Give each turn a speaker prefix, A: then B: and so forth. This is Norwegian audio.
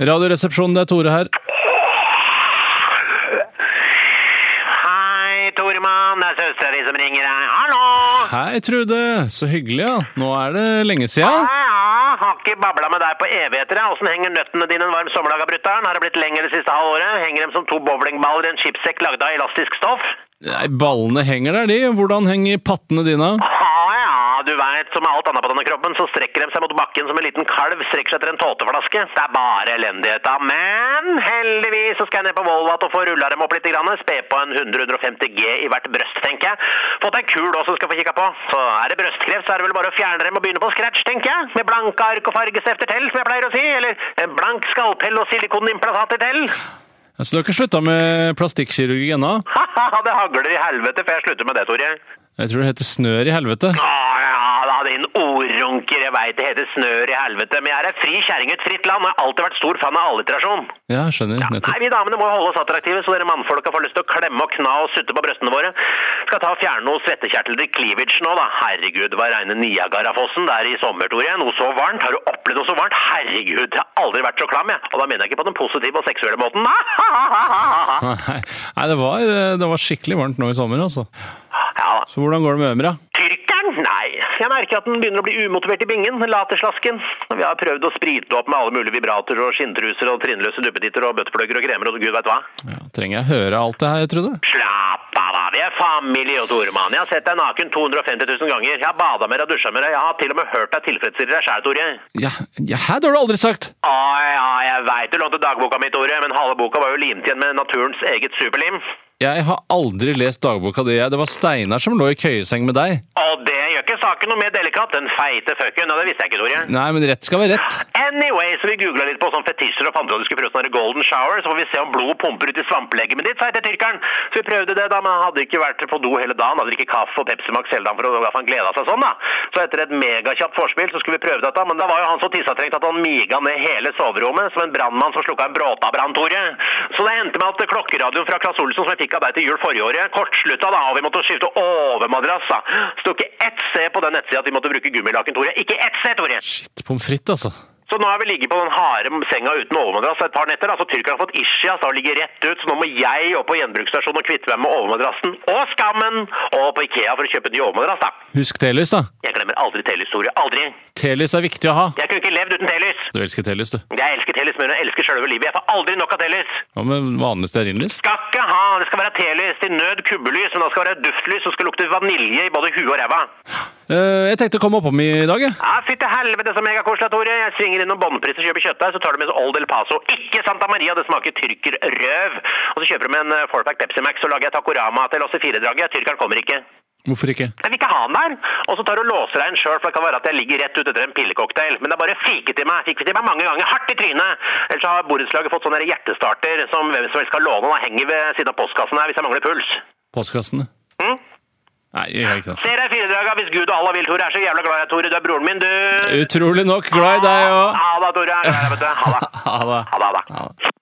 A: Radioresepsjonen, det er Tore her.
B: Hei, Toremann. Det er søstera di som ringer deg. Hallo!
A: Hei, Trude. Så hyggelig, ja. Nå er det lenge siden.
B: Ja, ja, har ikke babla med deg på evigheter. jeg. Åssen henger nøttene dine en varm sommerdag av brutter'n? Har det blitt lenger det siste halvåret? Henger dem som to bowlingballer i en chipsekk lagd av elastisk stoff?
A: Nei, ballene henger der, de. Hvordan henger pattene dine?
B: Ja, Ah, ja, du veit, som med alt annet på denne kroppen, så strekker de seg mot bakken som en liten kalv strekker seg etter en tåteflaske. Det er bare elendighet, da. Men heldigvis så skal jeg ned på Volvat og få rulla dem opp litt. Grann. Spe på en 150 G i hvert bryst, tenker jeg. Fått ei kul også som skal få kikka på. Så er det brøstkreft, så er det vel bare å fjerne dem og begynne på scratch, tenker jeg. Med blanke ark og fargestifter til, som jeg pleier å si. Eller en blank skallpell og silikonimplantater til.
A: Så Altså, du har ikke slutta med plastikkirurgi ennå?
B: Ha-ha, det hagler i helvete før jeg slutter med det, Tore.
A: Jeg tror det heter snør i helvete.
B: Å ja da, din ordrunker. Jeg veit det heter snør i helvete, men jeg er ei fri kjerring i et fritt land og jeg har alltid vært stor fan av alliterasjon.
A: Ja, skjønner.
B: Nei,
A: Nettopp.
B: vi damene må jo holde oss attraktive, så dere mannfolka får lyst til å klemme og kna og sutte på brøstene våre. Skal ta og fjerne noen svettekjertler i cleavage nå, da. Herregud, hva regne Niagarafossen det er i sommer, Tore. Noe så varmt. Har du opplevd noe så varmt? Herregud, jeg har aldri vært så klam, jeg. Og da mener jeg ikke på den positive og seksuelle måten.
A: Nei, Nei, det var, det var skikkelig varmt nå i sommer, altså.
B: Ja da.
A: Så hvordan går det med Ømra?
B: Tyrkeren? Nei. Jeg merker at den begynner å bli umotivert i bingen, den laterslasken. Vi har prøvd å sprite opp med alle mulige vibratorer og skinntruser og trinnløse duppetitter og bøtteplugger og kremer og gud veit hva.
A: Ja, trenger jeg høre alt det her, Trude?
B: Slapp av, da. Vi er familie, og Toremann. Jeg har sett deg naken 250 000 ganger. Jeg har bada med deg og dusja med deg. Jeg har til og med hørt deg tilfredsstille deg sjæl, Tore.
A: Ja, ja, hæ, det har du aldri sagt!
B: Å ja, jeg veit du lånte dagboka mi, Tore, men halve boka var jo limt igjen med naturens eget superlim.
A: Jeg har aldri lest dagboka di. jeg. Det var Steinar som lå i køyeseng med deg.
B: Og det gjør ikke saken noe mer delikat. Den feite fucken. Og det visste jeg ikke, Tore.
A: Nei, men rett skal være rett.
B: Anyway, så vi googla litt på sånn fetisjer og fant ut at du skulle prøve sånn her golden shower, så får vi se om blodet pumper ut i svamplegemet ditt, sa jeg til tyrkeren. Så vi prøvde det, da, men han hadde ikke vært på do hele dagen. Hadde ikke kaffe og Pepsi Max hele dagen for at han gleda seg sånn, da. Så etter et megakjapt forspill så skulle vi prøve dette, men da var jo han så tissetrengt at han miga ned hele soverommet som en brannmann som slukka en bråtabrann, Tore. Så det endte med at klokkeradioen fra Claes Olsen som jeg fikk av deg til jul forrige året, kortslutta da, og vi måtte skifte overmadrass, da. Sto ikke ett sted på den nettsida at vi måtte bruke gummilaken, Tore. Ikke ett sted, Tore!
A: Shit, pommes frites, altså.
B: Så nå har vi ligget på den harde senga uten overmadrass et par netter. Altså, Tyrkerne har fått ischias og ligger rett ut, så nå må jeg opp på gjenbruksstasjonen og kvitte meg med overmadrassen og skammen! Og på Ikea for å kjøpe ny overmadrass, da.
A: Husk telys, da.
B: Jeg glemmer aldri telehistorie. Aldri!
A: Telys er viktig å ha.
B: Jeg kunne ikke levd uten telys!
A: Du elsker telys, du.
B: Jeg elsker telys mer enn jeg elsker sjølve livet. Jeg får aldri nok av telys!
A: Hva med vanlig stearinlys?
B: Skal ikke ha! Det skal være telys til nød kubbelys, men det skal være duftlys som skal lukte vanilje i både huet og ræva.
A: Eh, jeg tenkte å komme oppom i dag, jeg.
B: Ja, fytti helvete så megakoselig, Tore. Jeg svinger innom Bånnpris og kjøper kjøttdeig, så tar du med Old El Paso. Ikke Santa Maria, det smaker tyrkerrøv. Og så kjøper du med en eh, fourpack Pepsi Max, så lager jeg tacorama til oss i firedraget. Tyrkeren kommer ikke.
A: Hvorfor ikke?
B: Jeg vil ikke ha han der. Og så tar du og låser deg inn sjøl, for det kan være at jeg ligger rett ut etter en pillecocktail. Men det er bare fiket i meg. Fikk vi til meg mange ganger. Hardt i trynet. Ellers så har borettslaget fått sånne hjertestarter som hvem som helst skal låne. Da henger ved siden av postkassen her hvis jeg mangler puls.
A: Postkassene?
B: Hm?
A: Nei, jeg gjør ikke det.
B: Ser deg i firedraget hvis Gud og Allah vil, Tore. Jeg er så jævla glad i deg, Tore. Du er broren min, du.
A: Utrolig nok glad i deg òg.
B: Ha det, Tore. Jeg er glad i deg, vet du. Ha det.
A: Ha det.
B: Ha det, ha det.
A: Ha det.